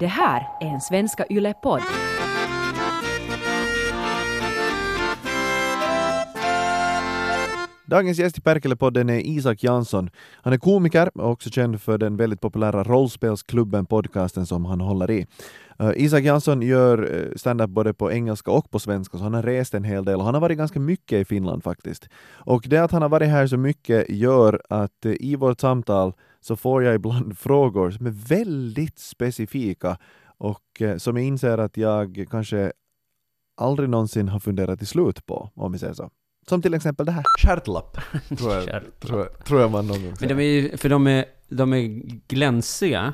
Det här är en Svenska Yle-podd. Dagens gäst i Perkele-podden är Isak Jansson. Han är komiker och också känd för den väldigt populära Rollspelsklubben-podcasten som han håller i. Eh, Isak Jansson gör eh, stand-up både på engelska och på svenska, så han har rest en hel del och han har varit ganska mycket i Finland faktiskt. Och det att han har varit här så mycket gör att eh, i vårt samtal så får jag ibland frågor som är väldigt specifika och eh, som jag inser att jag kanske aldrig någonsin har funderat till slut på, om vi säger så. Som till exempel det här. Stjärtlapp, tror jag, Stjärtlapp. tror jag, tror jag man någon gång Men säger. de är ju, för de är, de är glänsiga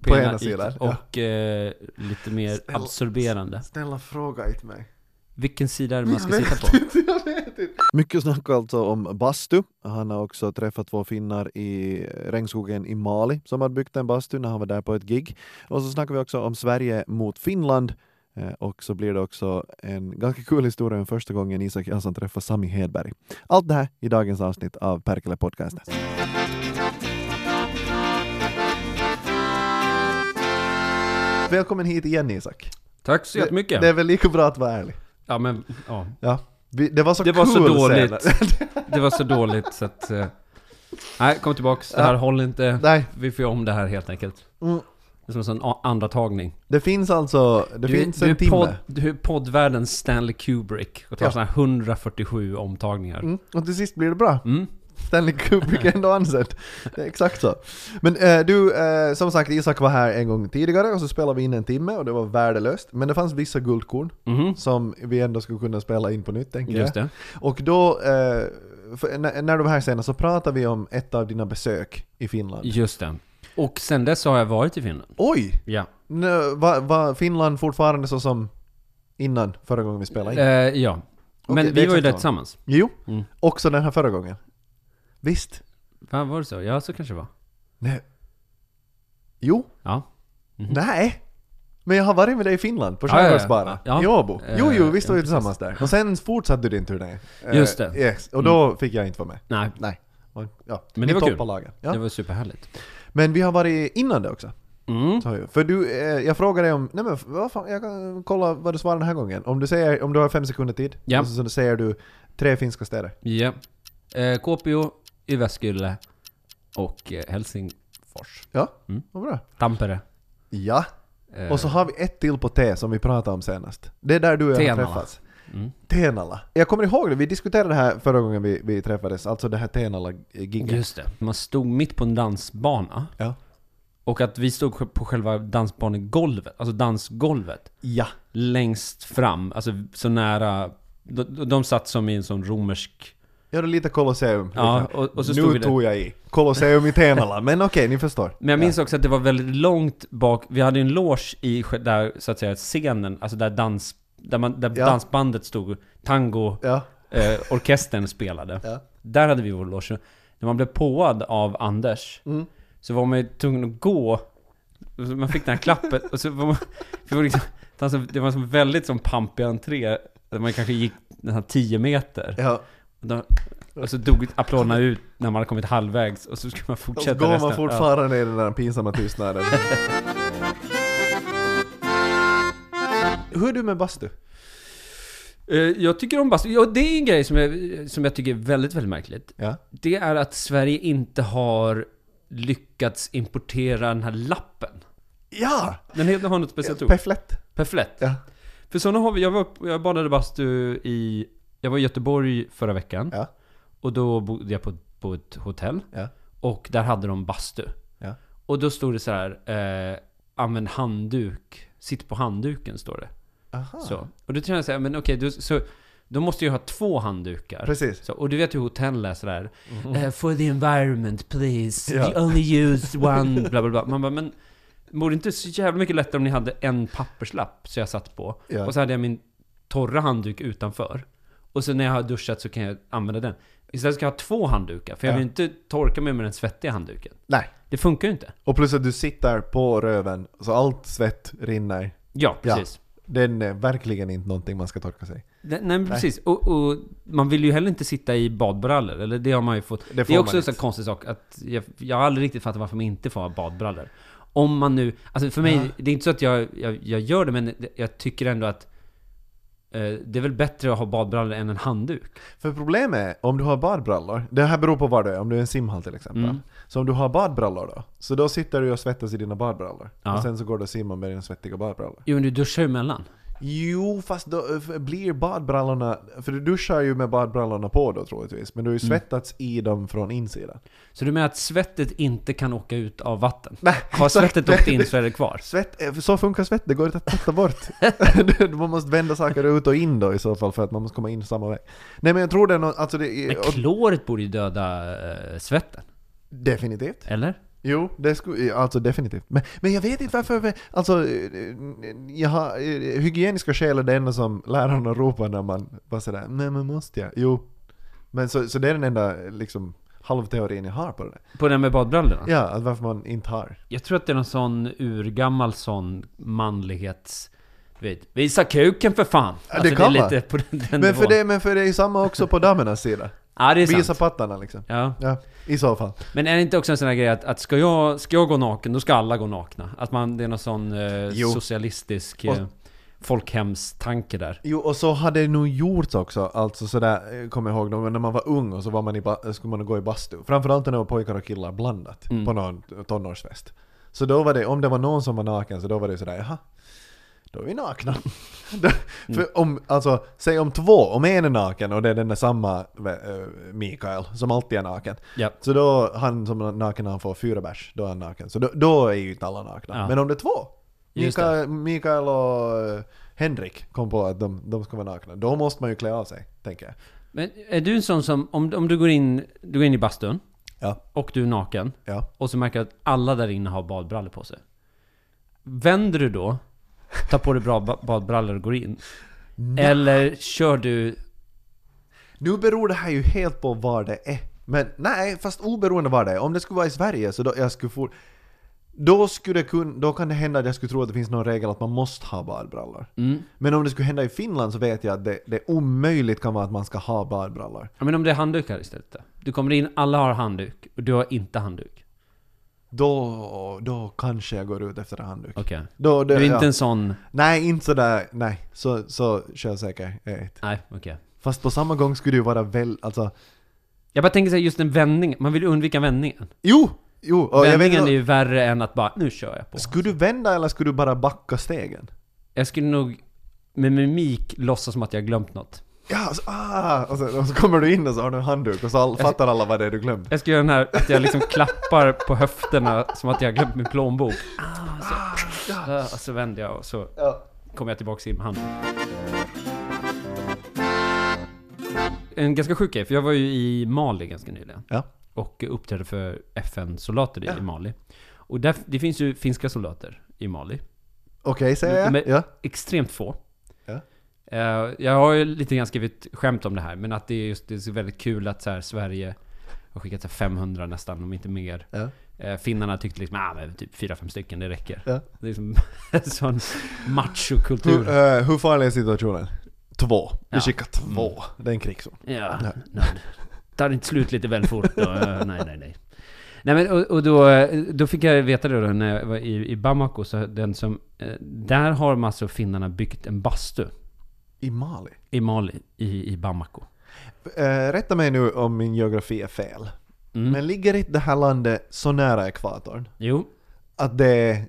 På ena sidan, ytan ja. Och eh, lite mer Snälla. absorberande Snälla fråga inte mig. Vilken sida är det man ska Mm. sitta på? Mycket snack alltså om bastu. Han har också träffat två finnar i regnskogen i Mali som hade byggt en bastu när han var där på ett gig. Och så snackar vi också om Sverige mot Finland. Eh, Och så blir det också en ganska kul historia om första gången Isak Jansson träffar Sami Hedberg. Allt det här i dagens avsnitt av Perkele podcasten. Välkommen hit igen Isak. Tack så jättemycket! Det är väl lika bra att vara ärlig. Ja men, ja Ja. Vi, det var så Det var så cool dåligt. senare. Det var så dåligt så att... eh, Nej, kom tillbaks. Det här Ja. håller inte. Nej, Vi får göra om det här helt enkelt. Mm. Det är som en sån a- andra tagning. Det finns alltså, det du, är- finns du, en är timme. podd, du är poddvärldens Stanley Kubrick och tar Ja. såna här 147 omtagningar. Mm, och till sist blir det bra. Mm. Stanley Kubrick är ändå ansedd. Det är exakt så. Men eh, du, eh, som sagt Isak var här en gång tidigare och så spelade vi in en timme och det var värdelöst. Men det fanns vissa guldkorn Mhm. som vi ändå skulle kunna spela in på nytt tänker jag. Just det. Och då, eh, för, när, när du var här senast så pratade vi om ett av dina besök i Finland. Just det. Och sen dess har jag varit i Finland. Oj! Ja. Nu, var va, Finland fortfarande så som innan förra gången vi spelade in? Eh, ja. Men det är vi var ju exakt där samma. tillsammans. Jo, Mm. också den här förra gången. Visst? Va, var det så? Ja, så kanske det var. Nej. Jo. Ja. Nej! Men jag har varit med dig i Finland, på Ja, ja, ja. Skärgårdsbaren, Ja. i Åbo. Eh, Jo, jo, visst var vi ja, tillsammans där. Och sen fortsatte du din turné. Eh, Just det. Yes. Och då fick jag inte vara med. Nej, Nej. Och- Ja, Men det ni var kul. toppar lagen. det Ja. var superhärligt. Men vi har varit innan det också. Mm. sa jag ju. För du, eh, jag frågade dig om... Nej men vad fan, jag kan kolla vad du svarar den här gången. Om du, säger, om du har fem sekunder tid, Ja. och så, så säger du tre finska städer. Ja. Eh, Kuopio, Jyväskylä och eh, Helsingfors. Ja, Mm. vad bra. Tampere. Ja. Eh, Och så har vi ett till på T som vi pratade om senast. Det är där du och jag Tenala. har träffats. Mm. Tenala. Jag kommer ihåg det, vi diskuterade det här förra gången vi, vi träffades, alltså det här Tenala-giget. Just det. Man stod mitt på en dansbana. Ja. Och att vi stod på själva dansbanegolvet, alltså dansgolvet, ja. längst fram, alltså så nära. De, de satt som i en sån romersk... Ja, det är lite Colosseum. Ja, Liksom. och, och så stod vi nu där. tog jag i. Colosseum i Tenala, men okej, ni förstår. Men jag minns också att det var väldigt långt bak, vi hade ju en loge i sj- där, så att säga, scenen, alltså där, dans, där, man, där Ja. dansbandet stod, tango, Ja. eh, orkestern spelade. Ja. Där hade vi vår loge. När man blev påad av Anders, Mm. så var man ju tvungen att gå, Och så man fick den här klappen, och så var man, det var liksom, det var en väldigt som pampig entré, där man kanske gick nästan 10 meter. ja. Och då- Och så dog applåderna ut när man hade kommit halvvägs, och så skulle man Och så fortsätta går man resten. Ja. fortfarande i den där pinsamma tystnaden. Hur är du med bastu? Eh, Jag tycker om bastu. Ja, det är en grej som jag, som jag tycker är väldigt, väldigt märkligt. Ja. Det är att Sverige inte har lyckats importera den här lappen. Ja! Den heter, har något speciellt ord. Pefflett. Perflett. Ja. För sådana har vi. Jag, var, upp- jag badade bastu i... Jag var i Göteborg förra veckan. Ja. Och då bodde jag på, på ett hotell. Ja. Och där hade de bastu. Ja. Och då stod det så här... Eh, använd handduk. Sitt på handduken, står det. Aha. Så. Och då tänkte jag så här, men okej, då, så, då måste jag ha två handdukar. Precis. Så, och du vet hur hotell är sådär. "Eh, for the environment please. Mm-hmm. Ja. You only use one. Bla, bla, bla. Man bara, men vore det inte så jävla mycket lättare om ni hade en papperslapp så jag satt på. Ja. Och så hade jag min torra handduk utanför. Och sen när jag har duschat så kan jag använda den. Istället ska jag ha två handdukar. För jag Ja. vill inte torka mig med den svettiga handduken. Nej. Det funkar ju inte. Och plus att du sitter på röven, så allt svett rinner. Ja, Ja. precis. Den är verkligen inte någonting man ska torka sig. Nej, nej men precis. Och, och man vill ju heller inte sitta i badbrallor, eller det har man ju fått. Det Det, får är man också en inte. sån konstig sak att jag, jag har aldrig riktigt fattat varför man inte får ha badbrallor. Om man nu... Alltså för mig, Ja. det är inte så att jag, jag, jag gör det, men det- jag tycker ändå att... eh, Det är väl bättre att ha badbrallor än en handduk? För problemet är, om du har badbrallor, det här beror på var du är, om du är en simhall till exempel. Mm. Så om du har badbrallor då, så då sitter du och svettas i dina badbrallor. Ja. Och sen så går du och simmar med dina svettiga badbrallor. Jo, men du duschar ju emellan. Jo, fast då eh, f- blir badbrallorna... För du duschar ju med badbrallorna på då troligtvis, men du har Mm. ju svettats i dem från insidan. Så du menar att svettet inte kan åka ut av vatten? Nej, Har exakt. svettet åkt in så är det kvar? Svett, eh, så funkar svett, det går inte att tvätta bort. man måste vända saker ut och in då i så fall för att man måste komma in samma väg. Nej men jag tror det är något, alltså det, Men är- och, kloret borde ju döda eh, svetten, Definitivt. eller? Jo, det skulle, alltså definitivt. Men, men jag vet inte varför, alltså, eh, jag har, eh, hygieniska skäl är det enda som lärarna ropar när man bara sådär, nej men måste jag? Jo. Men så, så det är den enda liksom halvteorin jag har på det där. På den med badbrallorna? Ja, att varför man inte har. Jag tror att det är någon sån urgammal sån manlighets... Du vet, visa kuken för fan! Alltså, Ja, det kan det är vara. lite på den, den Men för, nivån. det, men för det är ju samma också på damernas sida. ja, det är Visa sant. pattarna liksom. Ja. Ja, i så fall. Men är det inte också en sån här grej att, att ska, jag, ska jag gå naken, då ska alla gå nakna? Att man, det är någon sån eh, Jo. socialistisk Och- eh, folkhemstanke där. Jo, och så hade det nog gjorts också, alltså sådär, eh, kommer jag ihåg någon gång när man var ung och så var man i, ba- eh, skulle man gå i bastu. Framförallt när det var pojkar och killar blandat Mm. på någon tonårsfest. Så då var det, om det var någon som var naken så då var det sådär, jaha, då är vi nakna. Mm. Då- För om, alltså, säg om två, om en är naken och det är den där samma eh, Mikael som alltid är naken. Ja. Så då, han som är naken han får fyra bärs, då är han naken. Så då, då är ju inte alla nakna. Ja. Men om det är två, Just Mikael, Mikael och eh, Henrik kom på att de, de ska vara nakna. Då måste man ju klä av sig, tänker jag. Men är du en sån som, om, om du, går in, du går in i bastun Ja. och du är naken Ja. och så märker du att alla där inne har badbrallor på sig. Vänder du då, tar på dig bra ba- badbrallor och går in? Eller kör du... Nu beror det här ju helt på var det är. Men nej, fast oberoende var det är. Om det skulle vara i Sverige så då, jag skulle for... då, skulle det kun... då kan det hända att jag skulle tro att det finns någon regel att man måste ha badbrallor. Mm. Men om det skulle hända i Finland så vet jag att det, det omöjligt kan vara att man ska ha badbrallor. Ja, men om det är handdukar istället då? Du kommer in, alla har handduk och du har inte handduk. Då, då kanske jag går ut efter en handduk. Okej. Då, det, Du är inte ja. en sån... Nej, inte sådär, nej. Så, så självsäker är jag inte. Nej, okej. Fast på samma gång skulle det ju vara väl, alltså... Jag bara tänker såhär, just den vändningen. Man vill ju undvika vändningen. Jo! Jo! och jag vet vändningen är inte, ju värre än att bara, nu kör jag på. skulle du vända eller skulle du bara backa stegen? Jag skulle nog med mimik låtsas som att jag har glömt något. Ja, så, ah, och, så, och så kommer du in och så har du en handduk och så all, fattar alla vad det är du glömt. Jag ska göra den här, att jag liksom klappar på höfterna som att jag har glömt min plånbok. Ah, så, ah, och så vänder jag och så Ja. kommer jag tillbaks in med handen. En ganska sjuk grej, för jag var ju i Mali ganska nyligen. Ja. Och uppträdde för FN-soldater Ja. i Mali. Och där, det finns ju finska soldater i Mali. Okej, säger jag. Men- ja. Extremt få. Ja. Eh, jag har ju lite grann skrivit skämt om det här, men att det är just det är så väldigt kul att så här, Sverige har skickat så här 500 nästan, om inte mer. Ja. Eh, Finnarna tyckte liksom, ah, men typ 4-5 stycken, det räcker. Ja. Det är liksom en sån Hur, machokultur. eh, hur farlig är situationen? Två. Vi Ja. Mm. skickar två. Det är en krigszon. Ja, Ja. nej. Tar inte slut lite väl fort då? Eh, nej, nej, nej. Nej men och, och då, eh, då fick jag veta det då när jag var i, i Bamako, så den som, eh, där har de alltså finnarna byggt en bastu I Mali. i Mali, i, i Bamako. Eh, rätta mig nu om min geografi är fel. Mm. Men ligger inte det här landet så nära ekvatorn Jo, att det är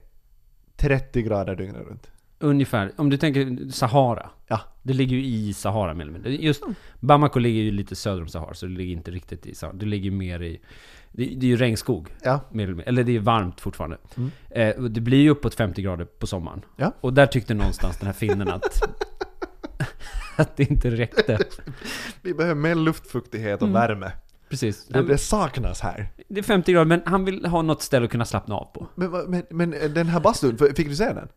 30 grader dygnet runt? Ungefär. Om du tänker Sahara. Ja. Det ligger ju i Sahara mer eller mindre. Just Bamako ligger ju lite söder om Sahara, så det ligger inte riktigt i Sahara. Det ligger ju mer i... Det, det är ju regnskog. Ja. Mer eller, mindre. eller det är varmt fortfarande. Mm. Eh, och det blir ju uppåt 50 grader på sommaren. Ja. Och där tyckte någonstans den här finnen att... att det inte räckte. Vi behöver mer luftfuktighet och Mm. värme. Precis. Det, det saknas här. Det är 50 grader, men han vill ha något ställe att kunna slappna av på. Men, vad- men, men den här bastun, för- fick du se den? Eller-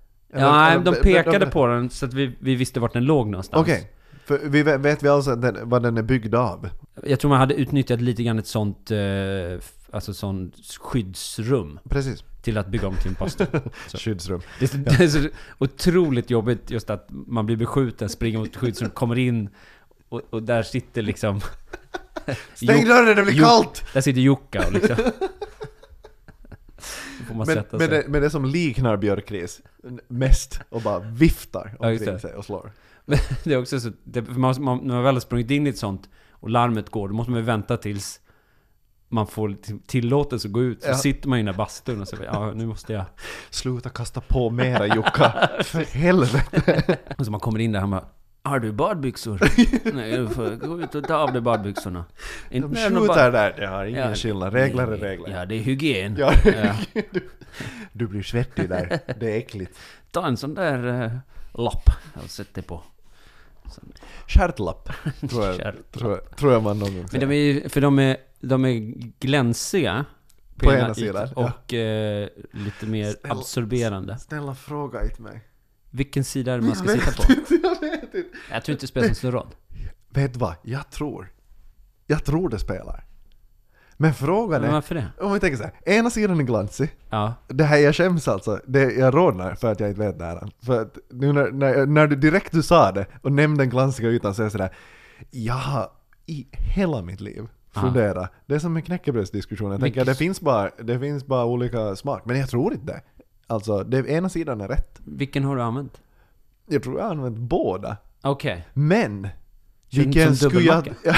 Ja, nej, eller- de men- pekade på den så att vi, vi visste vart den låg någonstans. Okej. För vi vet, vet vi alltså att den, vad den är byggd av? Jag tror man hade utnyttjat lite grann ett sånt, eh, f- alltså sånt skyddsrum Precis. till att bygga om sin pasta. Så. Skyddsrum. Det, är så- det är så otroligt jobbigt just att man blir beskjuten, springer mot ett skyddsrum, kommer in och, och där sitter liksom... Stäng Jo- dörren, det blir jo- kallt! Där sitter Jukka och liksom... så får man Men, sätta men, sig. det, men det som liknar björkris mest och bara viftar Ja, just omkring det. sig och slår. Men det är också så, det, för man, man, när man väl har sprungit in i ett sånt och larmet går, då måste man ju vänta tills man får till- tillåtelse att gå ut. Så Ja. sitter man i den där bastun och så ja nu måste jag. Sluta kasta på mera Jukka, för helvete! Och så man kommer in där och han bara, har du badbyxor? Nej, du får gå ut och ta av dig badbyxorna. Inte De när någon skjuter där, det har Ja, ingen skillnad. Regler är regler. Ja, det är hygien. Ja. Ja. Du blir svettig där, det är äckligt. Ta en sån där eh, lapp och sätt dig på. Stjärtlapp, tror jag, Stjärtlapp. Tror, jag, tror jag man någon gång Men säger. de är ju, för de är, de är glänsiga. På ena sidan, ja. Och eh, lite mer Snälla- absorberande. Snälla fråga inte mig. Vilken sida är det man ska Jag sitta vet på? inte, jag vet inte. Jag tror inte det spelar så stor roll. Vet du vad? Jag tror. Jag tror det spelar. Men frågan Men är, varför det? om vi tänker så här, ena sidan är glansig, Ja. Det här, jag skäms alltså. Det, jag rodnar för att jag inte vet det här. För att nu när, när, när du direkt du sa det och nämnde den glansiga ytan så är jag sådär, jag har i hela mitt liv Ah. funderat. Det är som en knäckebrödsdiskussion. Jag tänker, Vilket- det finns, bara, det finns bara olika smak. Men jag tror inte det. Alltså, det, ena sidan är rätt. Vilken har du använt? Jag tror jag har använt båda. Okej. Men! Känns Vilken som skulle jag... dubbelmacka.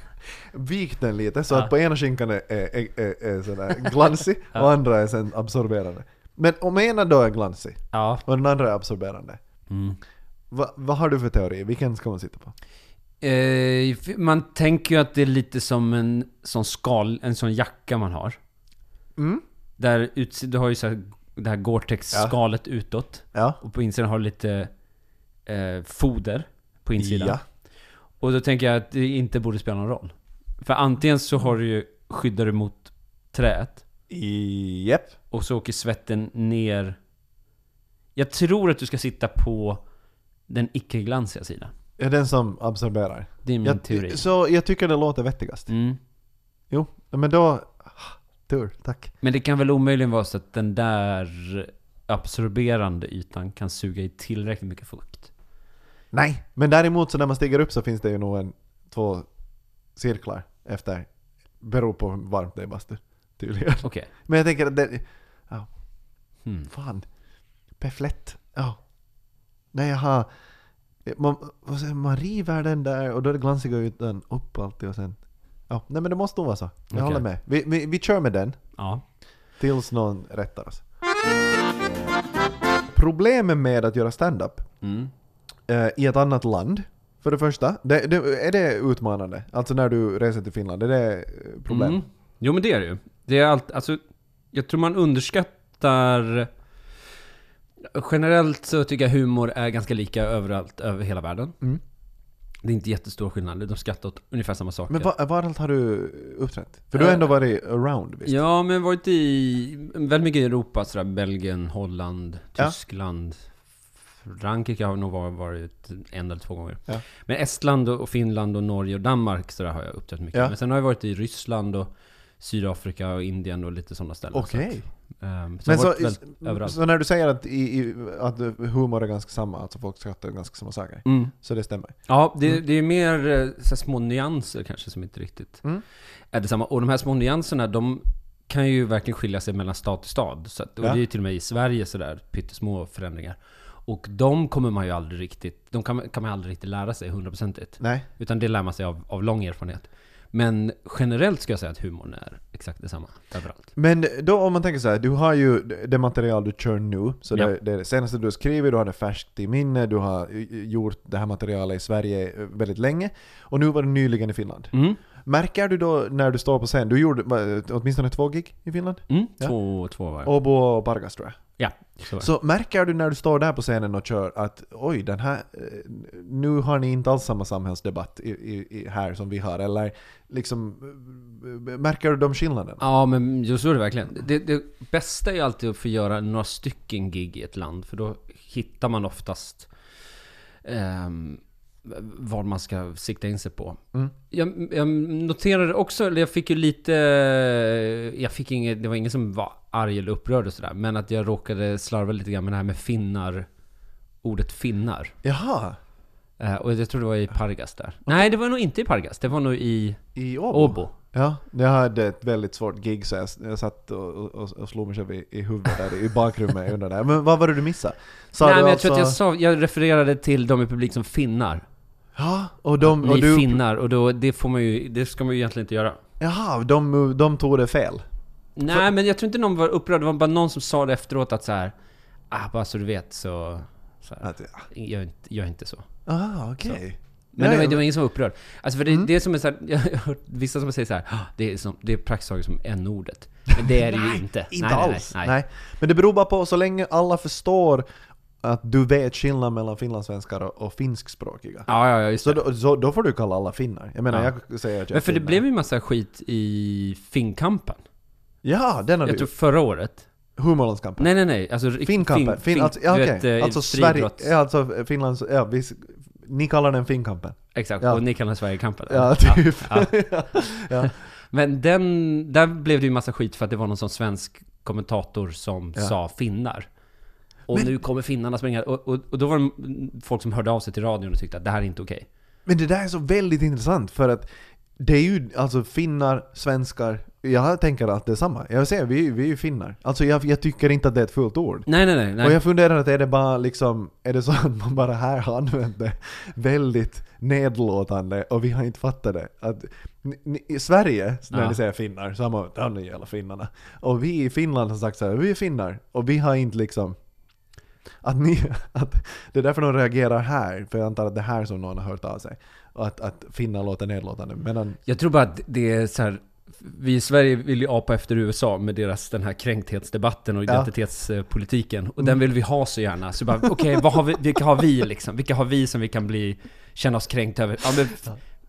Vikt den lite så Ja. att på ena skinkan är, är, är, är sådär glansig och andra är sen absorberande. Men om ena då är glansig Ja. och den andra är absorberande. Mm. Va, vad har du för teori? Vilken ska man sitta på? Eh, för man tänker ju att det är lite som en sån skal, en sån jacka man har. Mm? Där uts- du har ju så här, det här Gore-Tex-skalet utåt. Ja. Och på insidan har du lite eh, foder på insidan. Ja. Och då tänker jag att det inte borde spela någon roll. För antingen så har du ju, skyddar du mot träet. Japp. Och så åker svetten ner. Jag tror att du ska sitta på den icke-glansiga sidan. Är den som absorberar. Det är min Jag, teori. så jag tycker det låter vettigast. Mm. Jo, men då... Tur, tack. Men det kan väl omöjligen vara så att den där absorberande ytan kan suga i tillräckligt mycket fukt. Nej, men däremot så när man stiger upp så finns det ju nog en två cirklar efter. Beror på hur varmt det är i bastu, tydligen. Okej. Men jag tänker att det... ja, Hmm. fan. Perfekt. Ja. När jag har... Man, vad säger, man river den där och då är det glansiga utan upp alltid och sen... Ja, nej men det måste nog vara så. Jag Okej. håller med. Vi, vi, vi kör med den Ja. tills någon rättar oss. Problemet med att göra stand-up Mm. eh, i ett annat land. För det första, det, det, är det utmanande? Alltså när du reser till Finland, är det eh, problem? Mm. Jo men det är det ju. Det är allt, alltså, jag tror man underskattar... Generellt så tycker jag humor är ganska lika överallt, över hela världen. Mm. Det är inte jättestor skillnad, de skrattar åt ungefär samma saker. Men var, varallt har du uppträtt? För du har ändå varit around visst? Eh, Ja, men varit i väldigt mycket i Europa, sådär Belgien, Holland, Ja. Tyskland. Frankrike har nog var- varit en eller två gånger. Ja. Men Estland och och Finland och Norge och Danmark sådär har jag uppträtt mycket. Ja. Men sen har jag varit i Ryssland och Sydafrika och Indien och lite sådana ställen. Okej. Så, um, så, Men jag har så, varit väldigt överallt. så när du säger att, i, i, att humor är ganska samma, alltså folk skrattar åt ganska samma saker, Mm. så det stämmer? Ja, det, Mm. det är mer eh, så här, små nyanser kanske som inte riktigt Mm. är detsamma. Och de här små nyanserna, de kan ju verkligen skilja sig mellan stad till stad. Så att, och Ja. det är ju till och med i Sverige sådär pyttesmå förändringar. Och de kommer man ju aldrig riktigt, de kan, kan man aldrig riktigt lära sig hundraprocentigt. Nej? Utan det lär man sig av, av lång erfarenhet. Men generellt ska jag säga att humorn är exakt detsamma överallt. Men då om man tänker så här, du har ju det material du kör nu, så Ja. det, det är det senaste du har skrivit, du har det färskt i minne, du har gjort det här materialet i Sverige eh, väldigt länge, och nu var du nyligen i Finland. Mm. Märker du då när du står på scen, du gjorde eh, åtminstone två gig i Finland? Mm. Ja. Två, två var det. Åbo och Pargas tror jag. Ja, så var det. Så märker du när du står där på scenen och kör att oj, den här, eh, nu har ni inte alls samma samhällsdebatt i, i, i här som vi har, eller liksom, eh, märker du de skillnaderna? Ja, men just så är det verkligen. Det, det bästa är ju alltid att få göra några stycken gig i ett land. För då hittar man oftast ehm, vad man ska sikta in sig på. Mm. Jag, jag noterade också, eller jag fick ju lite... Jag fick inget, det var ingen som var arg eller upprörd och sådär. Men att jag råkade slarva lite grann med det här med finnar. Ordet finnar. Jaha, Eh, och jag tror det var i Pargas där. Nej, det var nog inte i Pargas. Det var nog i i Åbo? Åbo. Ja, jag hade ett väldigt svårt gig så jag, jag satt och, och, och slog mig själv i, i huvudet där i bakrummet under där. Men vad var det du missade? Sa Nej, du men jag alltså- tror att jag sa, jag refererade till de i publiken som finnar. Ja, och de... Vi Och du, finnar, och då, det får man ju, det ska man ju egentligen inte göra. jaha, de, de tog det fel. Nej, men jag tror inte någon var upprörd. Det var bara någon som sa det efteråt att så här, ah, bara så du vet så, så här, Att, gör, inte, gör inte så. ah, okej. Men Ja, det, var, ja, Mm. det var ingen som var upprörd. Alltså för det, det är som en så här, jag har hört vissa som säger så här, "Ah, det är, som, det är praktiskt taget som n-ordet. Men det är det ju inte. Inte Nej, nej, alls. Nej, Nej, nej. Men det beror bara på, så länge alla förstår att du vet skillnad mellan finlandssvenskar och, och finskspråkiga. Ja, ja, ja, just Så det. då, så då får du kalla alla finnar. Jag menar, Ja. jag säger att jag är Men för det finne. blev ju en massa skit i Finnkampen. Ja, den har Jag du tror förra året. Humorlandskampen. Nej, nej, nej. Alltså, Finkampen. Fin, alltså, ja, du okej. vet, eh, alltså Sverige, friidrotts- ja, alltså Finlands, ja, vi, ni kallar den Finkampen. Exakt, Ja. och ni kallar Sverigekampen. Ja, typ. ja. Ja. Men den, där blev det ju massa skit för att det var någon sån svensk kommentator som Ja. sa finnar. Och Men- nu kommer finnarna springa. Och, och, och då var det m- folk som hörde av sig till radion och tyckte att det här är inte okej. Men det där är så väldigt intressant för att det är ju alltså finnar, svenskar, jag tänker att det är samma. Jag säger, vi, vi är ju finnar. Alltså jag, jag tycker inte att det är ett fullt ord. Nej, nej, nej. Och nej. jag funderar att är det bara liksom, är det så att man bara här har använt det väldigt nedlåtande och vi har inte fattat det? Att, ni, ni, I Sverige, när Ja. ni säger finnar, så har man "Ja, de jävla finnarna. Och vi i Finland har sagt så här, vi är finnar. Och vi har inte liksom... Att ni, att det är därför de reagerar här, för jag antar att det är här som någon har hört av sig. Och att, att finnar låter nedlåtande. Medan, Jag tror bara att det är så här. Vi i Sverige vill ju apa efter USA med deras den här kränkthetsdebatten och Ja. Mm. identitetspolitiken. Och den vill vi ha så gärna. Så bara, okej, vad har vi, vilka har vi liksom? Vilka har vi som vi kan bli, känna oss kränkt över? Ja, men,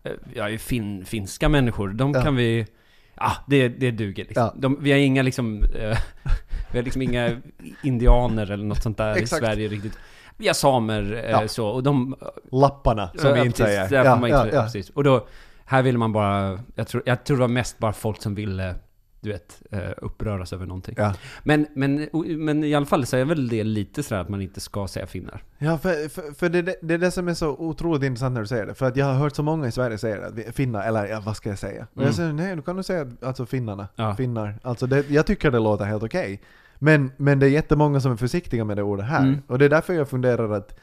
eh, jag är ju fin, finska människor, de Ja. kan vi... Ja, det, det duger liksom. Ja. De, vi har inga liksom... eh, vi har liksom inga indianer eller något sånt där i Exakt. Sverige riktigt. Vi har samer eh, Ja. så, och de lapparna, som Ja, vi inte precis, säger. Där får man inte, ja, säga, ja. Precis. Och då, här ville man bara, jag tror, jag tror det var mest bara folk som ville, du vet, eh, uppröras över någonting. Ja. Men, men, o- men i alla fall så är väl det lite sådär att man inte ska säga finnar. Ja, för, för, för det, det är det som är så otroligt intressant när du säger det. För att jag har hört så många i Sverige säga det. att vi- Finnar, eller ja, vad ska jag säga? Och Mm. jag säger nej, du kan du säga att- alltså finnarna. Ja. Finnar. Alltså det, jag tycker det låter helt okej. Men, men det är jättemånga som är försiktiga med det ordet här. Mm. Och det är därför jag funderar att...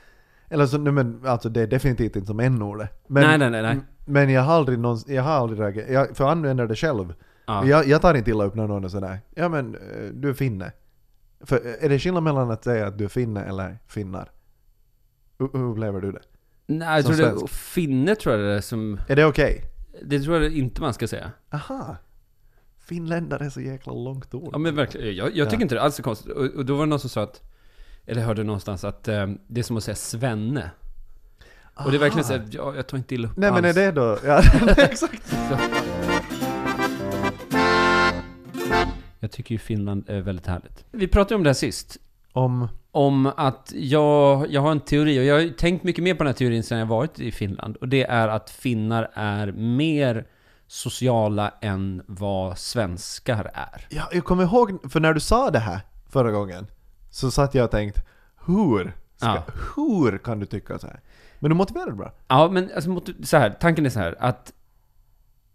Eller så, nej, men, alltså det är definitivt inte som n-ordet. Men, Mm. nej, nej, nej, nej. men jag har aldrig, någons, jag har aldrig reagerat, jag, för jag använder det själv. Ja. Jag, jag tar inte illa upp när någon är sådär, ja men eh, du är finne. För eh, är det skillnad mellan att säga att du är finne eller finnar? Hur hur upplever du det? Nej, jag Som tror det, svensk. finne tror jag det är som, Är det okej? det tror jag inte man ska säga. Aha! Finländare är så jäkla långt ord. Ja men verkligen, jag, jag tycker Ja. inte det alls är konstigt. Och, och då var det någon som sa att, eller hörde någonstans att eh, det är som att säga svenne. Och det är verkligen Aha. såhär, ja, jag tar inte illa upp Ah. Nej men är alls. det då... Ja, exakt! Jag tycker ju Finland är väldigt härligt. Vi pratade om det här sist. Om... Om att jag, jag har en teori, och jag har ju tänkt mycket mer på den här teorin sedan jag varit i Finland. Och det är att finnar är mer sociala än vad svenskar är. Ja, jag kommer ihåg, för när du sa det här förra gången så satt jag och tänkte hur? Ska, Ja. Hur kan du tycka så här? Men du motiverade bra. Ja, men alltså, mot- så här, tanken är så här att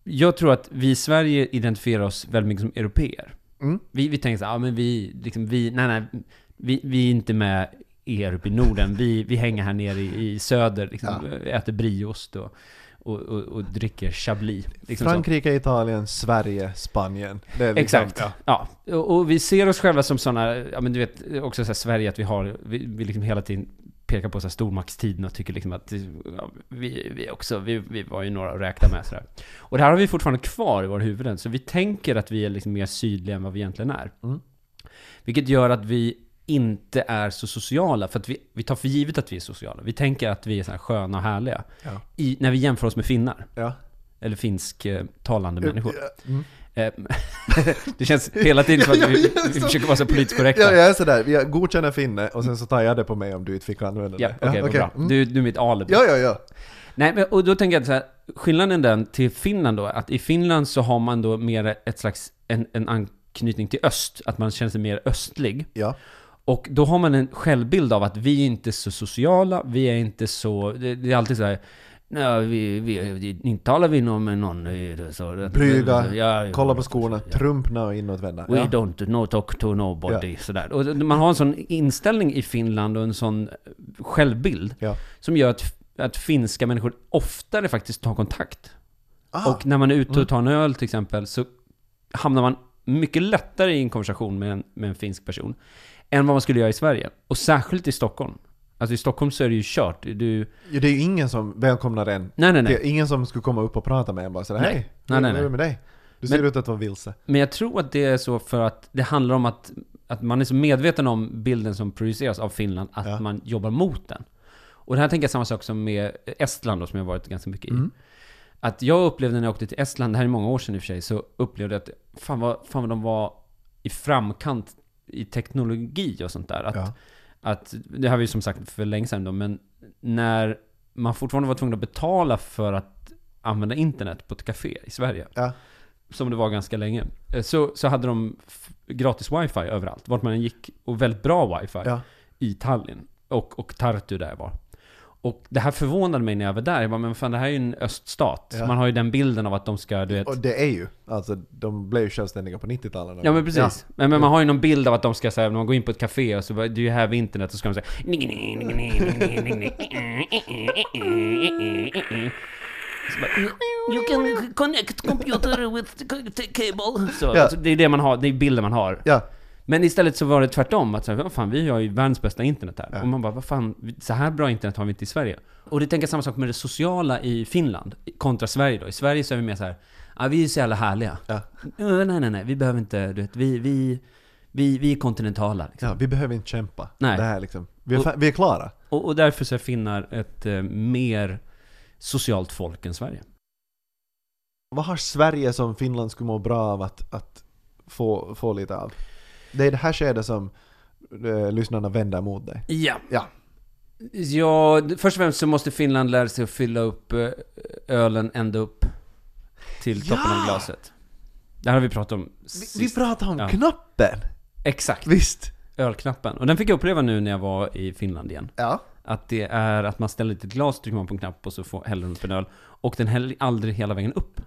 jag tror att vi i Sverige identifierar oss väldigt mycket som européer. Mm. Vi, vi tänker så här, ja men vi, liksom, vi, nej nej, vi, vi är inte med er uppe i Norden, vi, vi hänger här nere i, i söder, liksom, äter brieost och, och, och, och dricker chablis. Liksom så. Frankrike, Italien, Sverige, Spanien. Det är liksom- Exakt. Ja. Och, och vi ser oss själva som sådana, ja men du vet, också så här Sverige att vi har, vi, vi liksom hela tiden pekar på så här stormaktstiden och tycker liksom att ja, vi, vi också, vi, vi var ju några att räkna med sådär. Och det här har vi fortfarande kvar i våra huvuden, så vi tänker att vi är liksom mer sydliga än vad vi egentligen är. Mm. Vilket gör att vi inte är så sociala, för att vi, vi tar för givet att vi är sociala. Vi tänker att vi är så här sköna och härliga. Ja. I, när vi jämför oss med finnar, Ja. eller finsktalande människor. Mm. Eh, det känns hela tiden som att vi, Ja, ja, vi försöker vara så politiskt korrekta. Ja, jag är sådär, jag godkänner finne och sen så tar jag det på mig om du inte fick använda Ja, det. okej, vad bra. Mm. Du, du är mitt alibi. Ja, ja, ja. Nej, men, och då tänker jag så här, skillnaden den till Finland då, att i Finland så har man då mer ett slags, en, en anknytning till öst, att man känner sig mer östlig. Ja, Och då har man en självbild av att vi är inte så sociala, vi är inte så, det, det är alltid så här, Nej, vi, vi, vi inte talar vi någon med någon. eh, Så, Blyga, Ja, ja, kolla ja, på skorna, ja. trumpna och inåtvända. We Ja. don't no talk to nobody. Sådär. Och man har en sån inställning i Finland och en sån eh, självbild Ja. som gör att, att finska människor oftare faktiskt tar kontakt. Ah, Och när man är ute och tar en öl till exempel så hamnar man mycket lättare i en konversation med en, med en finsk person än vad man skulle göra i Sverige. Och särskilt i Stockholm. Alltså i Stockholm så är det ju kört. Du, ja, det är ju ingen som välkomnar en. nej, Det nej, nej. är ingen som skulle komma upp och prata med en bara sådär Nej. Hej, Nej, nej, hur är det med dig? Du ser Men- ut att vara vilse. Men jag tror att det är så för att det handlar om att, att man är så medveten om bilden som produceras av Finland, att Ja. man jobbar mot den. Och det här tänker jag samma sak som med Estland då, som jag varit ganska mycket i. Att jag upplevde när jag åkte till Estland, det här är många år sedan i och för sig, så upplevde jag att fan vad, fan vad de var i framkant i teknologi och sånt där. Att, Ja. att, det har vi ju som sagt för länge sedan då, men när man fortfarande var tvungen att betala för att använda internet på ett café i Sverige Ja. som det var ganska länge, eh, så, så hade de f- gratis wifi överallt, vart man än gick, och väldigt bra wifi Ja. i Tallinn. Och, och Tartu där jag var. Och det här förvånade mig när jag var där. Jag bara, men fan det här är ju en öststat. Ja. Man har ju den bilden av att de ska, du vet... Och det är ju, alltså de blev ju självständiga på 90-talet. Ja men precis. Men, men man har ju någon bild av att de ska säga när man går in på ett café och så bara, do you have internet? Och så ska de säga... Så bara, You can connect computer with c- cable. Så, Ja. alltså, det är det man har, det är bilden man har. Ja, Men istället så var det tvärtom. Att så här, "Vad fan, vi har ju världens bästa internet här. Ja. Och man bara, vad fan, så här bra internet har vi inte i Sverige. Och det tänker jag samma sak med det sociala i Finland kontra Sverige då. I Sverige så är vi mer så här, ah, vi är så jävla härliga. Ja. "Eh, Nej, nej, nej, vi behöver inte, du vet, vi, vi, vi, vi är kontinentala. Liksom. ja, vi behöver inte kämpa. Nej. Det här liksom. vi, är, fa- vi är klara. Och, och därför så är finnar ett eh, mer socialt folk än Sverige. Vad har Sverige som Finland skulle må bra av att, att få, få lite av? Det är det här skedet som eh, lyssnarna vänder mot dig. Ja. Ja. Ja, d- först och främst så måste Finland lära sig att fylla upp eh, ölen ända upp till toppen Ja! av glaset. Det här har vi pratat om Vi, sist. vi pratar om Ja. knappen! Exakt, Visst? ölknappen. Och den fick jag uppleva nu när jag var i Finland igen. Ja. Att det är att man ställer ett glas, trycker man på en knapp och så får, häller den upp en öl. Och den häller aldrig hela vägen upp.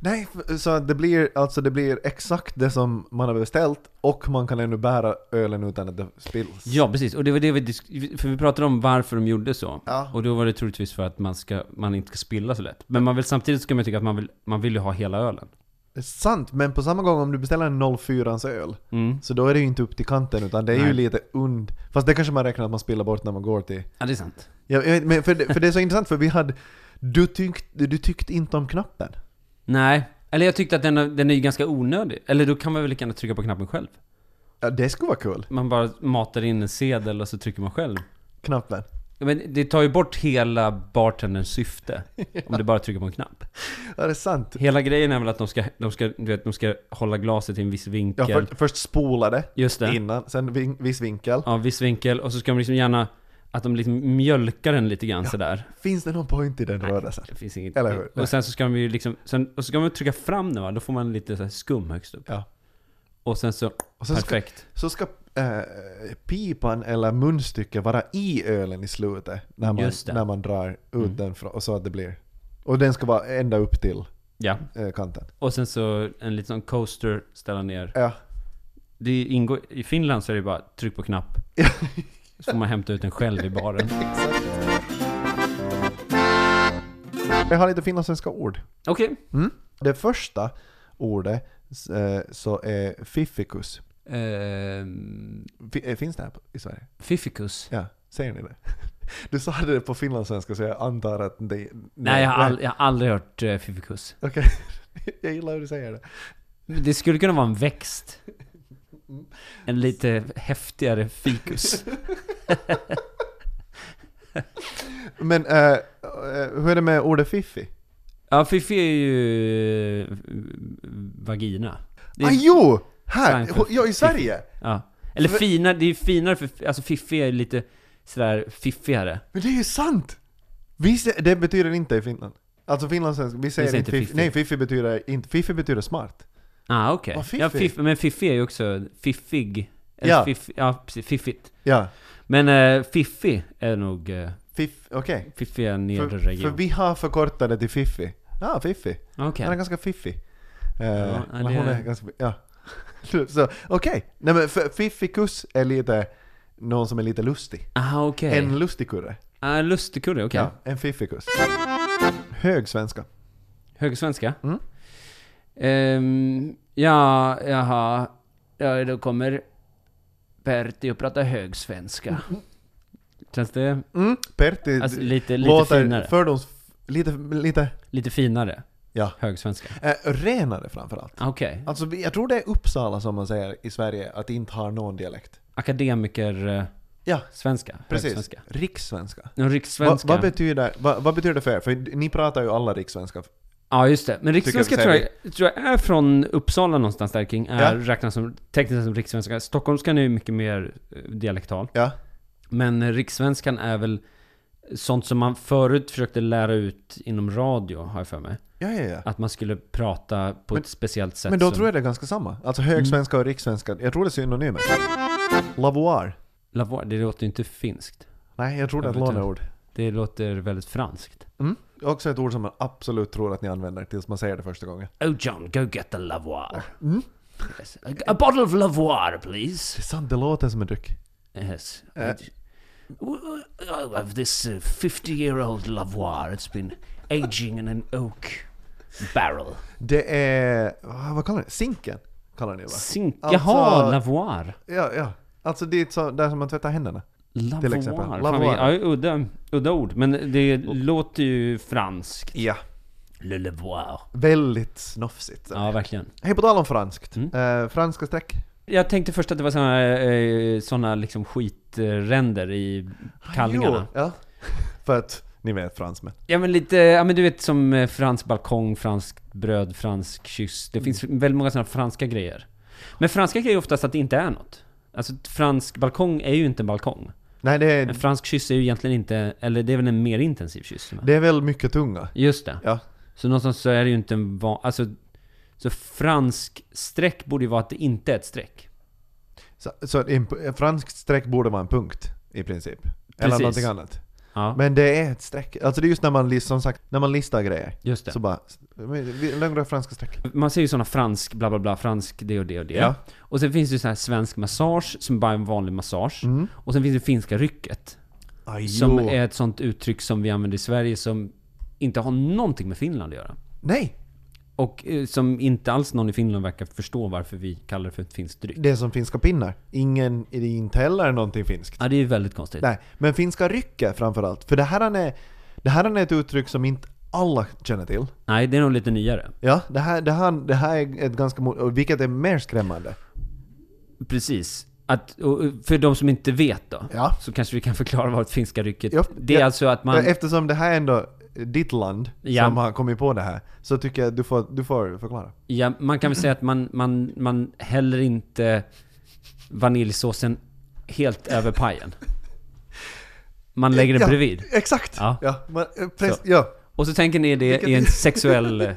Nej, f- så det blir, alltså det blir exakt det som man har beställt och man kan ännu bära ölen utan att det spills. Ja, precis. Och det var det vi disk- För vi pratade om varför de gjorde så. Ja. Och då var det troligtvis för att man, ska, man inte ska spilla så lätt. Men man vill, samtidigt ska man tycka att man vill, man vill ju ha hela ölen. Det är Sant, men på samma gång om du beställer en 04-ans öl Mm. så då är det ju inte upp till kanten utan det är ju Nej. lite und... Fast det kanske man räknar att man spiller bort när man går till... Ja, det är sant. Ja, jag vet, men för, det, för det är så intressant för vi hade... Du tyckte, du tyckte inte om knappen. Nej. Eller jag tyckte att den, den är ju ganska onödig. Eller då kan man väl lika gärna trycka på knappen själv. Ja, det skulle vara kul. Man bara matar in en sedel och så trycker man själv. Knappen. Ja, Men det tar ju bort hela bartenderns syfte. Om du bara trycker på en knapp. Ja, det är sant. Hela grejen är väl att de ska, de ska, du vet, de ska hålla glaset i en viss Ja, vinkel. för, först spola det Just det. innan, sen vin, viss vinkel. Ja, viss vinkel. Och så ska de liksom gärna, att de liksom mjölkar den lite grann sådär. Finns det någon point i den rörelsen? Det finns inget. Eller hur? Och sen så ska de ju liksom, sen, och så ska man trycka fram den va? Då får man lite så här skum högst upp. Ja. Och sen så, Och sen ska- perfekt. Så ska eh, pipan eller munstycket vara i ölen i slutet när man, Just det. när man drar ut Mm. den från, och så att det blir... Och den ska vara ända upp till Ja. eh, kanten. Och sen så en liten sån coaster ställa ner. Ja. Det ingår, I Finland så är det bara tryck på knapp. Så får man hämta ut den själv i baren. Jag har lite finlandssvenska ord. Okej. Det första ordet eh, så är fiffikus. Ehm, Fi- eh, Finns det här på- i Sverige? Fifikus. Ja, säger ni det? Du sa det på finlandssvenska så jag antar att det... Nej, Nej, jag har, all, jag har aldrig hört uh, fifikus. Okej, jag gillar hur du säger det. Det skulle kunna vara en växt. En lite häftigare fikus. Men eh, eh, hur är det med ordet fiffi? Ja, fifi är ju eh, vagina. Det är, Ah, jo! Här! Frankrike. Ja, i Sverige! ja. Eller För- finare, det är ju finare för, alltså fiffi är lite sådär fiffigare. Men det är ju sant! Vi, sä- det betyder inte i Finland. Alltså finlandssvenska, vi säger säger inte inte fiffi. fiffi. Nej, fiffi betyder inte... Fiffi betyder smart. Ah, okej. Vad fiffig. Ja, fiff, men fiffig är ju också fiffig. Eller Ja. Fiff, ja, precis, fiffigt. Ja. Men eh, fiffig är nog eh, Fiff, okej. Fiffiga För, nedre för region. vi har förkortat det till Fiffi. Ja, Fiffi. Okej. Han är ganska fiffig. Eh, Ja, eller det- hon är ganska... Ja. Så okej. Nej men för- fiffikus är lite någon som är lite lustig. Aha, okej. En lustigkurre. Ah, lustigkurre, okej. Ja, en fiffikus. Hög svenska. Högsvenska? Mm. Ehm, ja, jaha. Ja, då kommer Pertti att prata högsvenska. Känns det Mm. Pertti alltså, lite, lite låter finare? fördoms... Lite, lite... Lite finare? Ja. Högsvenska? Eh, renare framförallt. Ah, Okej. Alltså vi- jag tror det är Uppsala som man säger i Sverige att inte har någon dialekt. Akademiker-svenska? Ja, precis. eh, Högsvenska? Rikssvenska. Någon Va, rikssvenska? vad, betyder, va, vad betyder det för er? För ni pratar ju alla rikssvenska. Ja, just det. Men rikssvenska Tycker tror jag vi jag, tror jag är från Uppsala någonstans där kring. Är, Ja. Räknas som, tekniskt som rikssvenska. Stockholmskan är ju mycket mer eh, dialektal. Ja. Men eh, rikssvenskan är väl sånt som man förut försökte lära ut inom radio, har jag för mig. Ja, ja, ja. Att man skulle prata på Men- ett speciellt sätt. Men då som- tror jag det är ganska samma. Alltså högsvenska och rikssvenska. Jag tror det är synonymer. Lavoir. Lavoir, det låter ju inte finskt. Nej, jag tror det är ett Jag vet inte. låneord. Det låter väldigt franskt. Mm. Också ett ord som man absolut tror att ni använder tills man säger det första gången. Oh, John, go get the lavoir. Yes. A, a bottle of lavoir, please. Det är sant, det låter som en dryck. Yes. Eh. It- w- w- I have this 50 year old lavoir. It's been aging in an oak barrel. Det är... ah, Vad kallar ni det? Zinken? Kallar ni det va? Zink... Alltså- Jaha, lavoir. Ja, ja. Alltså det är så, där som man tvättar händerna. Lavoir. exempel. Fan, Lavoir. vi- Ja, udda, udda ord. Men det låter ju franskt. Ja. Le lavoir. Väldigt snofsigt. Ja, verkligen. Hej, på tal om franskt. Mm. Eh, franska streck. Jag tänkte först att det var såna, eh, såna liksom skitränder i kallingarna. Jo, Ja. För att ni vet fransmän. Ja men lite, ja men du vet som eh, fransk balkong, franskt bröd, fransk kyss. Det finns väldigt många sådana franska grejer. Men franska grejer är oftast att det inte är något. Alltså ett fransk balkong är ju inte en balkong. Nej, det En är, fransk kyss är ju egentligen inte, eller det är väl en mer intensiv kyss. va? det är väl mycket tunga. Just det. Ja. Så någonstans så är det ju inte en van, alltså, så fransk streck borde ju vara att det inte är ett streck. Så, så en, en fransk streck borde vara en punkt i princip. Eller Precis. någonting annat. Ja, Men det är ett streck. Alltså det är just när man, list- som sagt, när man listar grejer. just det. Så bara, men vi- längre franska streck. Man ser ju sådana fransk, bla bla bla, fransk det och det och det. Ja. Och sen finns det ju sån här svensk massage, som bara är en vanlig massage. Mm. Och sen finns det finska rycket. Aj, Som jo. är ett sånt uttryck som vi använder i Sverige som inte har någonting med Finland att göra. Nej! Och eh, som inte alls någon i Finland verkar förstå varför vi kallar det för ett finskt dryck. Det är som finska pinnar. Ingen, det är inte heller någonting finskt. Ja, det är ju väldigt konstigt. Nej, men finska rycke framförallt. För det här, är, det här är ett uttryck som inte alla känner till. Nej, det är nog lite nyare. Ja, det här, det här, det här är ett ganska... mo- och Vilket är mer skrämmande. Precis. Att, och och för de som inte vet då, Ja. så kanske vi kan förklara vad ett finska rycket... Ja, det är ja. alltså att man... Eftersom det här är ändå ditt land Ja. som har kommit på det här, så tycker jag att du får, du får förklara. Ja, man kan väl säga att man, man, man häller inte vaniljsåsen helt över pajen. Man lägger den Ja. bredvid. Exakt! Ja. Ja, man, eh, press, Så. ja. Och så tänker ni det i en sexuell eh,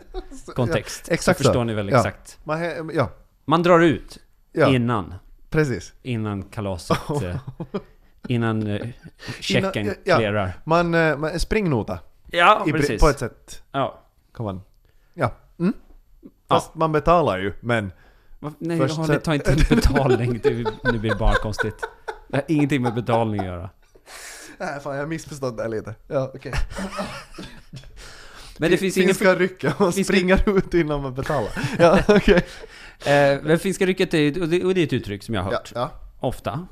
kontext. Ja, exakt så. så. förstår ni väl Ja. exakt. Man, he- ja, Man drar ut ja innan, precis. innan kalaset, eh, innan eh, checken Innan- ja. clearar. Man, eh, man springnota. Ja, I, pri- precis. på ett sätt Ja. kan man... Ja. Mm. Fast man betalar ju, men... Va- Nej, Först Först, det sen- tar inte in betalning. Det, nu blir det bara konstigt. Det har ingenting med betalning att göra. Äh, fan, jag har missförstått det här lite. Ja, okay. Men det finns ingen... Finska rycke, man Finska- springer ut innan man betalar. Ja, okej. Eh, men finska rycket är, ju- och det, och det är ett uttryck som jag har Ja, hört. ja. Mm. Ofta.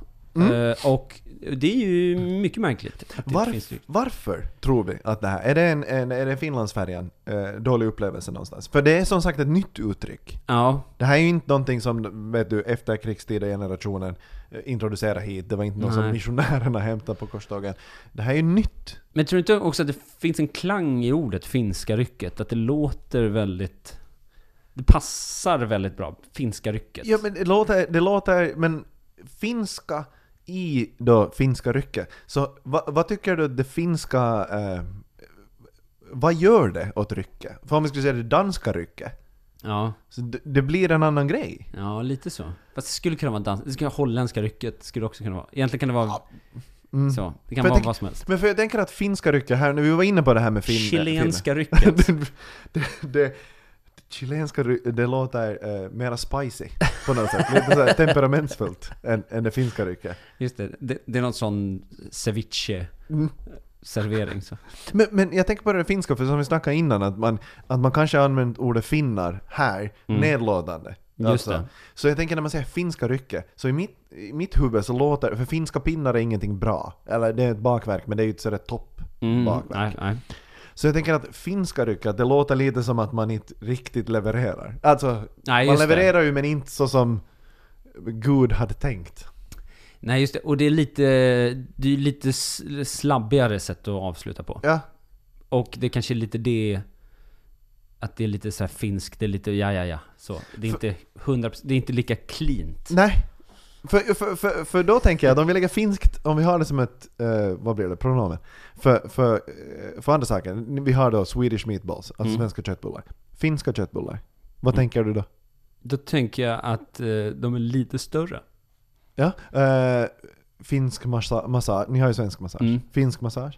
Eh, och det är ju mycket märkligt. Att det inte finns Varf- ryck. varför tror vi att det här... Är det, en, en, är det Finlandsfärjan eh, dålig upplevelse någonstans? För det är som sagt ett nytt uttryck. Ja, Det här är ju inte någonting som vet du, efterkrigstida generationen eh, introducerade hit. Det var inte något Nej. som missionärerna hämtade på korstågen. Det här är ju nytt. Men tror du inte också att det finns en klang i ordet finska rycket? Att det låter väldigt... Det passar väldigt bra, finska rycket. Ja, men det låter... Det låter men finska i då finska rycket. Så va, vad tycker du att det finska... Eh, vad gör det åt rycket? För om vi skulle säga det danska rycket, Ja, så det, det blir en annan grej. ja lite så. Fast det skulle kunna vara dans... Det skulle kunna vara holländska rycket, skulle det också kunna vara. Egentligen kan det vara Mm. Så, det kan För jag vara tänker- vad som helst. Men för jag tänker att finska rycket här, nu vi var inne på det här med fin, Chilenska fin- rycket. det, det, det, chilenska rycket, det låter eh, mera spicy på något sätt. Lite så här temperamentsfullt än, än det finska rycket. Just det, det, det är någon sån ceviche Mm. servering så. Men, men jag tänker på det finska, för som vi snackade innan, att man, att man kanske har använt ordet finnar här, Mm. nedlåtande. Alltså, Just det. Så jag tänker när man säger finska rycke, så i mitt, i mitt huvud så låter för finska pinnar är ingenting bra. Eller det är ett bakverk, men det är ju inte sådär topp. Mm, bakverk. nej, nej. Så jag tänker att finska rycke, att det låter lite som att man inte riktigt levererar. Alltså, man Nej, just det. levererar ju men inte så som Gud hade tänkt. nej, just det. Och det är lite, det är lite s- slabbigare sätt att avsluta på. Ja, Och det kanske är lite det... Att det är lite så här finskt, det är lite ja, ja, ja. Så. Det är inte 100%, det är inte lika cleant. nej. För, för, för, för då tänker jag att om vi lägger finskt, om vi har det som ett, eh, vad blir det, pronomen. För, för, eh, för andra saker, vi har då Swedish meatballs, alltså Mm. svenska köttbullar. Finska köttbullar, vad tänker du då? Då tänker jag att eh, de är lite större. Ja. eh, finsk massa- massage. Ni har ju svensk massage. Mm. Finsk massage.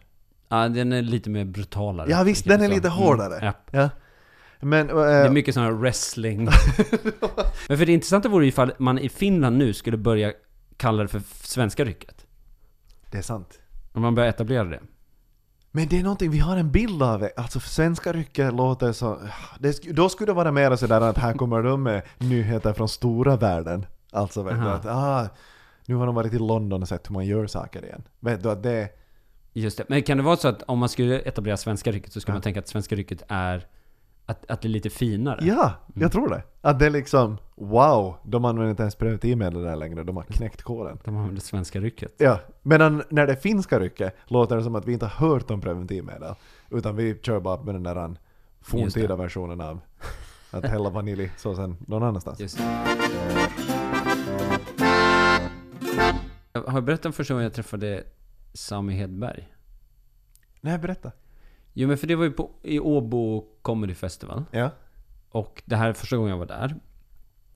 Ja, den är lite mer brutalare. Ja, visst, Kan den är jag lite säga. hårdare. Mm, ja. Ja. Men... eh, Det är mycket sån här wrestling. Men för det intressanta vore ju ifall man i Finland nu skulle börja kalla det för f- svenska rycket. det är sant. Om man börjar etablera det. Men det är någonting, vi har en bild av det. Alltså svenska rycket låter så... Det, sk- då skulle det vara mer sådär att här kommer de med nyheter från stora världen. Alltså vet du Aha. att ah, nu har de varit i London och sett hur man gör saker igen. Vet du att det... Just det. Men kan det vara så att om man skulle etablera svenska rycket så skulle Ja. man tänka att svenska rycket är... Att, att det är lite finare? Ja, jag tror det. Att det är liksom wow, de använder inte ens preventivmedel där längre, de har knäckt koden. De använder svenska rycket. Ja, medan när det finska rycket låter det som att vi inte har hört om preventivmedel. Utan vi kör bara med den där forntida versionen av att hälla vaniljsåsen någon annanstans. Just Jag har jag berättat om första gången jag träffade Sami Hedberg? Nej, berätta. Jo men för det var ju på, i Åbo Comedy Festival. Ja. Och det här är första gången jag var där.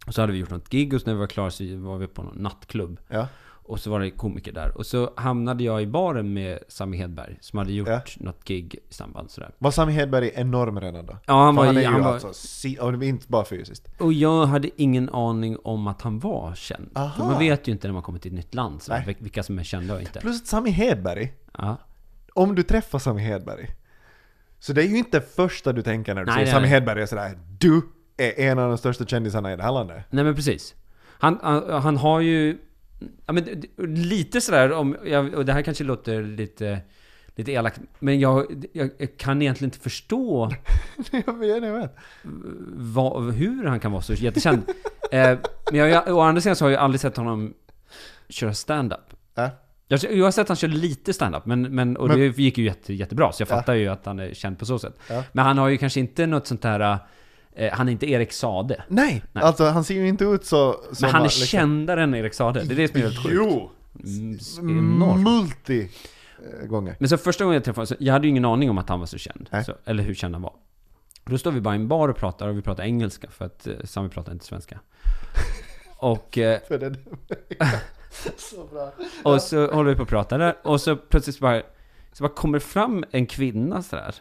Och så hade vi gjort något gig och så när vi var klara så var vi på någon nattklubb. Ja. Och så var det komiker där. Och så hamnade jag i baren med Sami Hedberg som hade gjort Ja. något gig i samband sådär. Var Sami Hedberg enorm redan då? Ja, han För var, han är ju- ju han var, alltså, si- och inte bara fysiskt. Och jag hade ingen aning om att han var känd. För Aha. man vet ju inte när man kommer till ett nytt land sådär, Nej. vil- vilka som är kända och inte. Plus att Sami Hedberg, Ja. om du träffar Sami Hedberg, så det är ju inte första du tänker när du Nej, ser nej, Sami nej. Hedberg är sådär du är en av de största kändisarna i det här landet. Nej men precis. Han, han, han har ju... Ja, men, d- d- lite sådär om... Jag, och det här kanske låter lite, lite elakt. Men jag, jag, jag kan egentligen inte förstå jag vet, jag vet. vad, hur han kan vara så jättekänd. eh, men jag, jag, å andra sidan så har jag aldrig sett honom köra stand-up. Ja. Jag, jag har sett han köra lite stand-up, men, men, och det gick ju jätte, jättebra. Så jag Ja. fattar ju att han är känd på så sätt. Ja. Men han har ju kanske inte något sånt här... Eh, han är inte Erik Sade. Nej, Nej. alltså han ser ju inte ut så... som Men han är att liksom- kändare än Erik Sade. Det är det som är helt sjukt. Mm, Jo! Enormt. Multi eh, gånger. Men så första gången jag träffade honom, så- jag hade ju ingen aning om att han var så känd. Nej. Så, eller hur känd han var. Då står vi bara i en bar och pratar och vi pratar engelska för att eh, Sami pratar inte svenska. Och, eh, För det, så bra. och så håller vi på och pratar där och så plötsligt så bara, så bara kommer fram en kvinna sådär.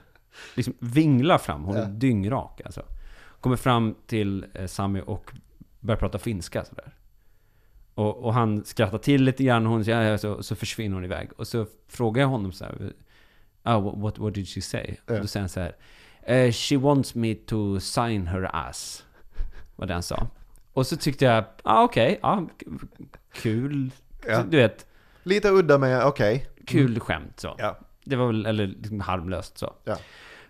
Liksom vinglar fram, hon är Ja. dyngrak alltså. Kommer fram till eh, Sami och börjar prata finska sådär. Och, och han skrattar till lite grann och hon säger, "Ja, ja", så, så försvinner hon iväg. Och så frågar jag honom så här, ah, wha- what, what did she say? Och Ja. då säger han så här, "Eh, she wants me to sign her ass. Vad den sa. Och så tyckte jag, ah, okej, ah, k- kul. Ja. Du vet, Lite udda men okej. kul skämt så. Mm. Ja. Det var väl, eller liksom harmlöst så. Ja.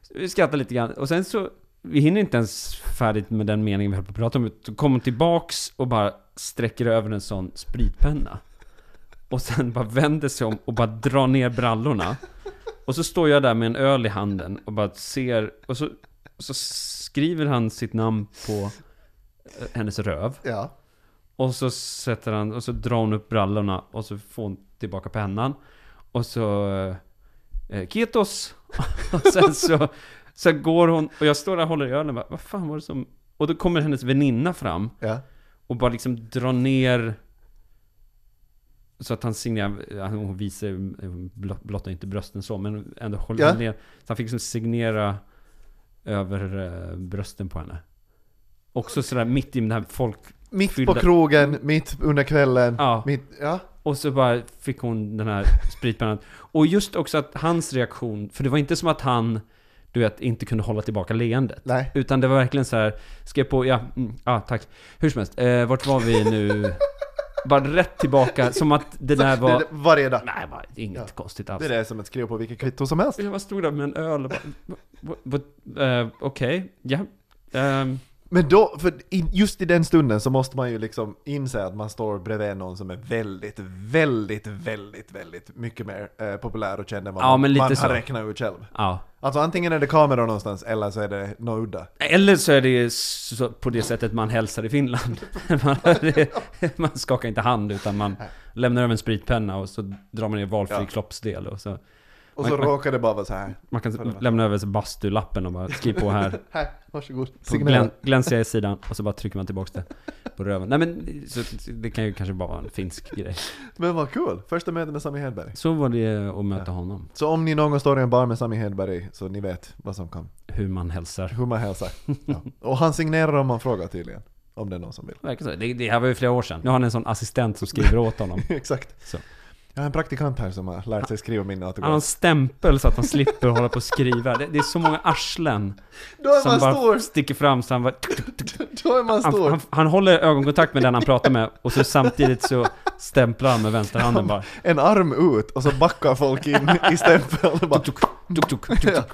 så. Vi skrattade lite grann och sen så, vi hinner inte ens färdigt med den meningen vi höll på att prata om. Så kommer hon tillbaks och bara sträcker över en sån spritpenna. Och sen bara vänder sig om och bara drar ner brallorna. Och så står jag där med en öl i handen och bara ser, och så, så skriver han sitt namn på eh, hennes röv. Ja. Och så sätter han, och så drar hon upp brallorna och så får hon tillbaka pennan. Och så... Eh, Ketos! och sen så, så går hon, och jag står där och håller i ölen och bara, vad fan var det som... Och då kommer hennes väninna fram Ja. och bara liksom drar ner... Så att han signerade, hon visar blott- blottar inte brösten så, men ändå håller Ja. ner. Så han fick liksom signera över eh, brösten på henne. Också sådär mitt i den här folk... Mitt på Fyllda- krogen, mitt under kvällen. Ja. Mitt, ja. Och så bara fick hon den här spritpennan. Och just också att hans reaktion, för det var inte som att han, du vet, inte kunde hålla tillbaka leendet. Nej. Utan det var verkligen så här, skrev på, ja, mm, ja tack. Hur som helst, eh, vart var vi nu? Bara rätt tillbaka, som att det där Det, var... det, varje dag. Nej, bara, inget konstigt alls. Det där är som att skriva på vilket kvitto som helst. Jag bara stod där med en öl och bara, "Va- va- va- eh, okej, ja. Ehm, Men då, för i- just i den stunden så måste man ju liksom inse att man står bredvid någon som är väldigt, väldigt, väldigt, väldigt mycket mer eh, populär och känd än vad Ja, man, men lite man så. har räknat ut själv. ja. Alltså antingen är det kameror någonstans eller så är det något udda. Eller så är det så, på det sättet man hälsar i Finland. Man, man skakar inte hand utan man lämnar över en spritpenna och så drar man ner valfri Ja. kroppsdel. Och så, Och så Man- man- råkar det bara vara så här. man kan lämna över bastulappen och bara skriv på här. Här, varsågod. På Signera. glän, glänsiga i sidan och så bara trycker man tillbaks det på röven. Nej men så, det kan ju kanske bara vara en finsk grej. Men vad kul! Första mötet med Sami Hedberg. Så var det att möta honom. Så om ni någon gång står i en bar med Sami Hedberg så ni vet vad som kom. Hur man hälsar. Hur man hälsar. Ja. Och han signerar om man frågar tydligen. Om det är någon som vill. Verkar så. Det, det här var ju flera år sedan. Nu har han en sån assistent som skriver åt honom. Exakt. Så. Jag har en praktikant här som har lärt sig skriva Han min har en autograf. stämpel så att han slipper hålla på och skriva. Det, det är så många arslen Då är som man bara stor! sticker fram så han bara... Då är man Han, stor! han, han håller ögonkontakt med den han pratar med och så samtidigt så stämplar han med vänsterhanden bara. En arm ut och så backar folk in i stämpeln och bara... Tuk, tuk, tuk, tuk, tuk. Ja.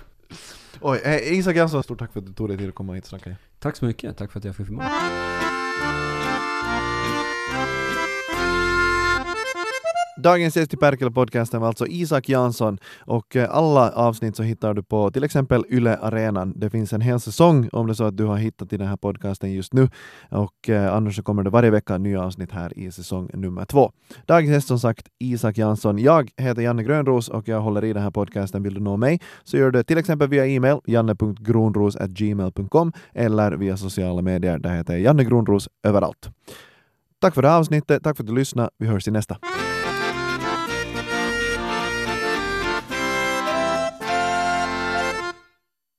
Oj, eh, Isak Jansson, stort tack för att du tog dig tid att komma hit och snacka. Tack så mycket, tack för att jag fick filma. Dagens gäst i Perkele-podcasten var alltså Isak Jansson och eh, alla avsnitt så hittar du på till exempel Yle Arenan. Det finns en hel säsong om det är så att du har hittat till den här podcasten just nu och eh, annars så kommer det varje vecka nya avsnitt här i säsong nummer två. Dagens gäst som sagt Isak Jansson. Jag heter Janne Grönros och jag håller i den här podcasten. Vill du nå mig så gör du det till exempel via e-mail janne.gronros.gmail.com eller via sociala medier. Där heter jag Janne Grönros överallt. Tack för det här avsnittet. Tack för att du lyssnade. Vi hörs i nästa.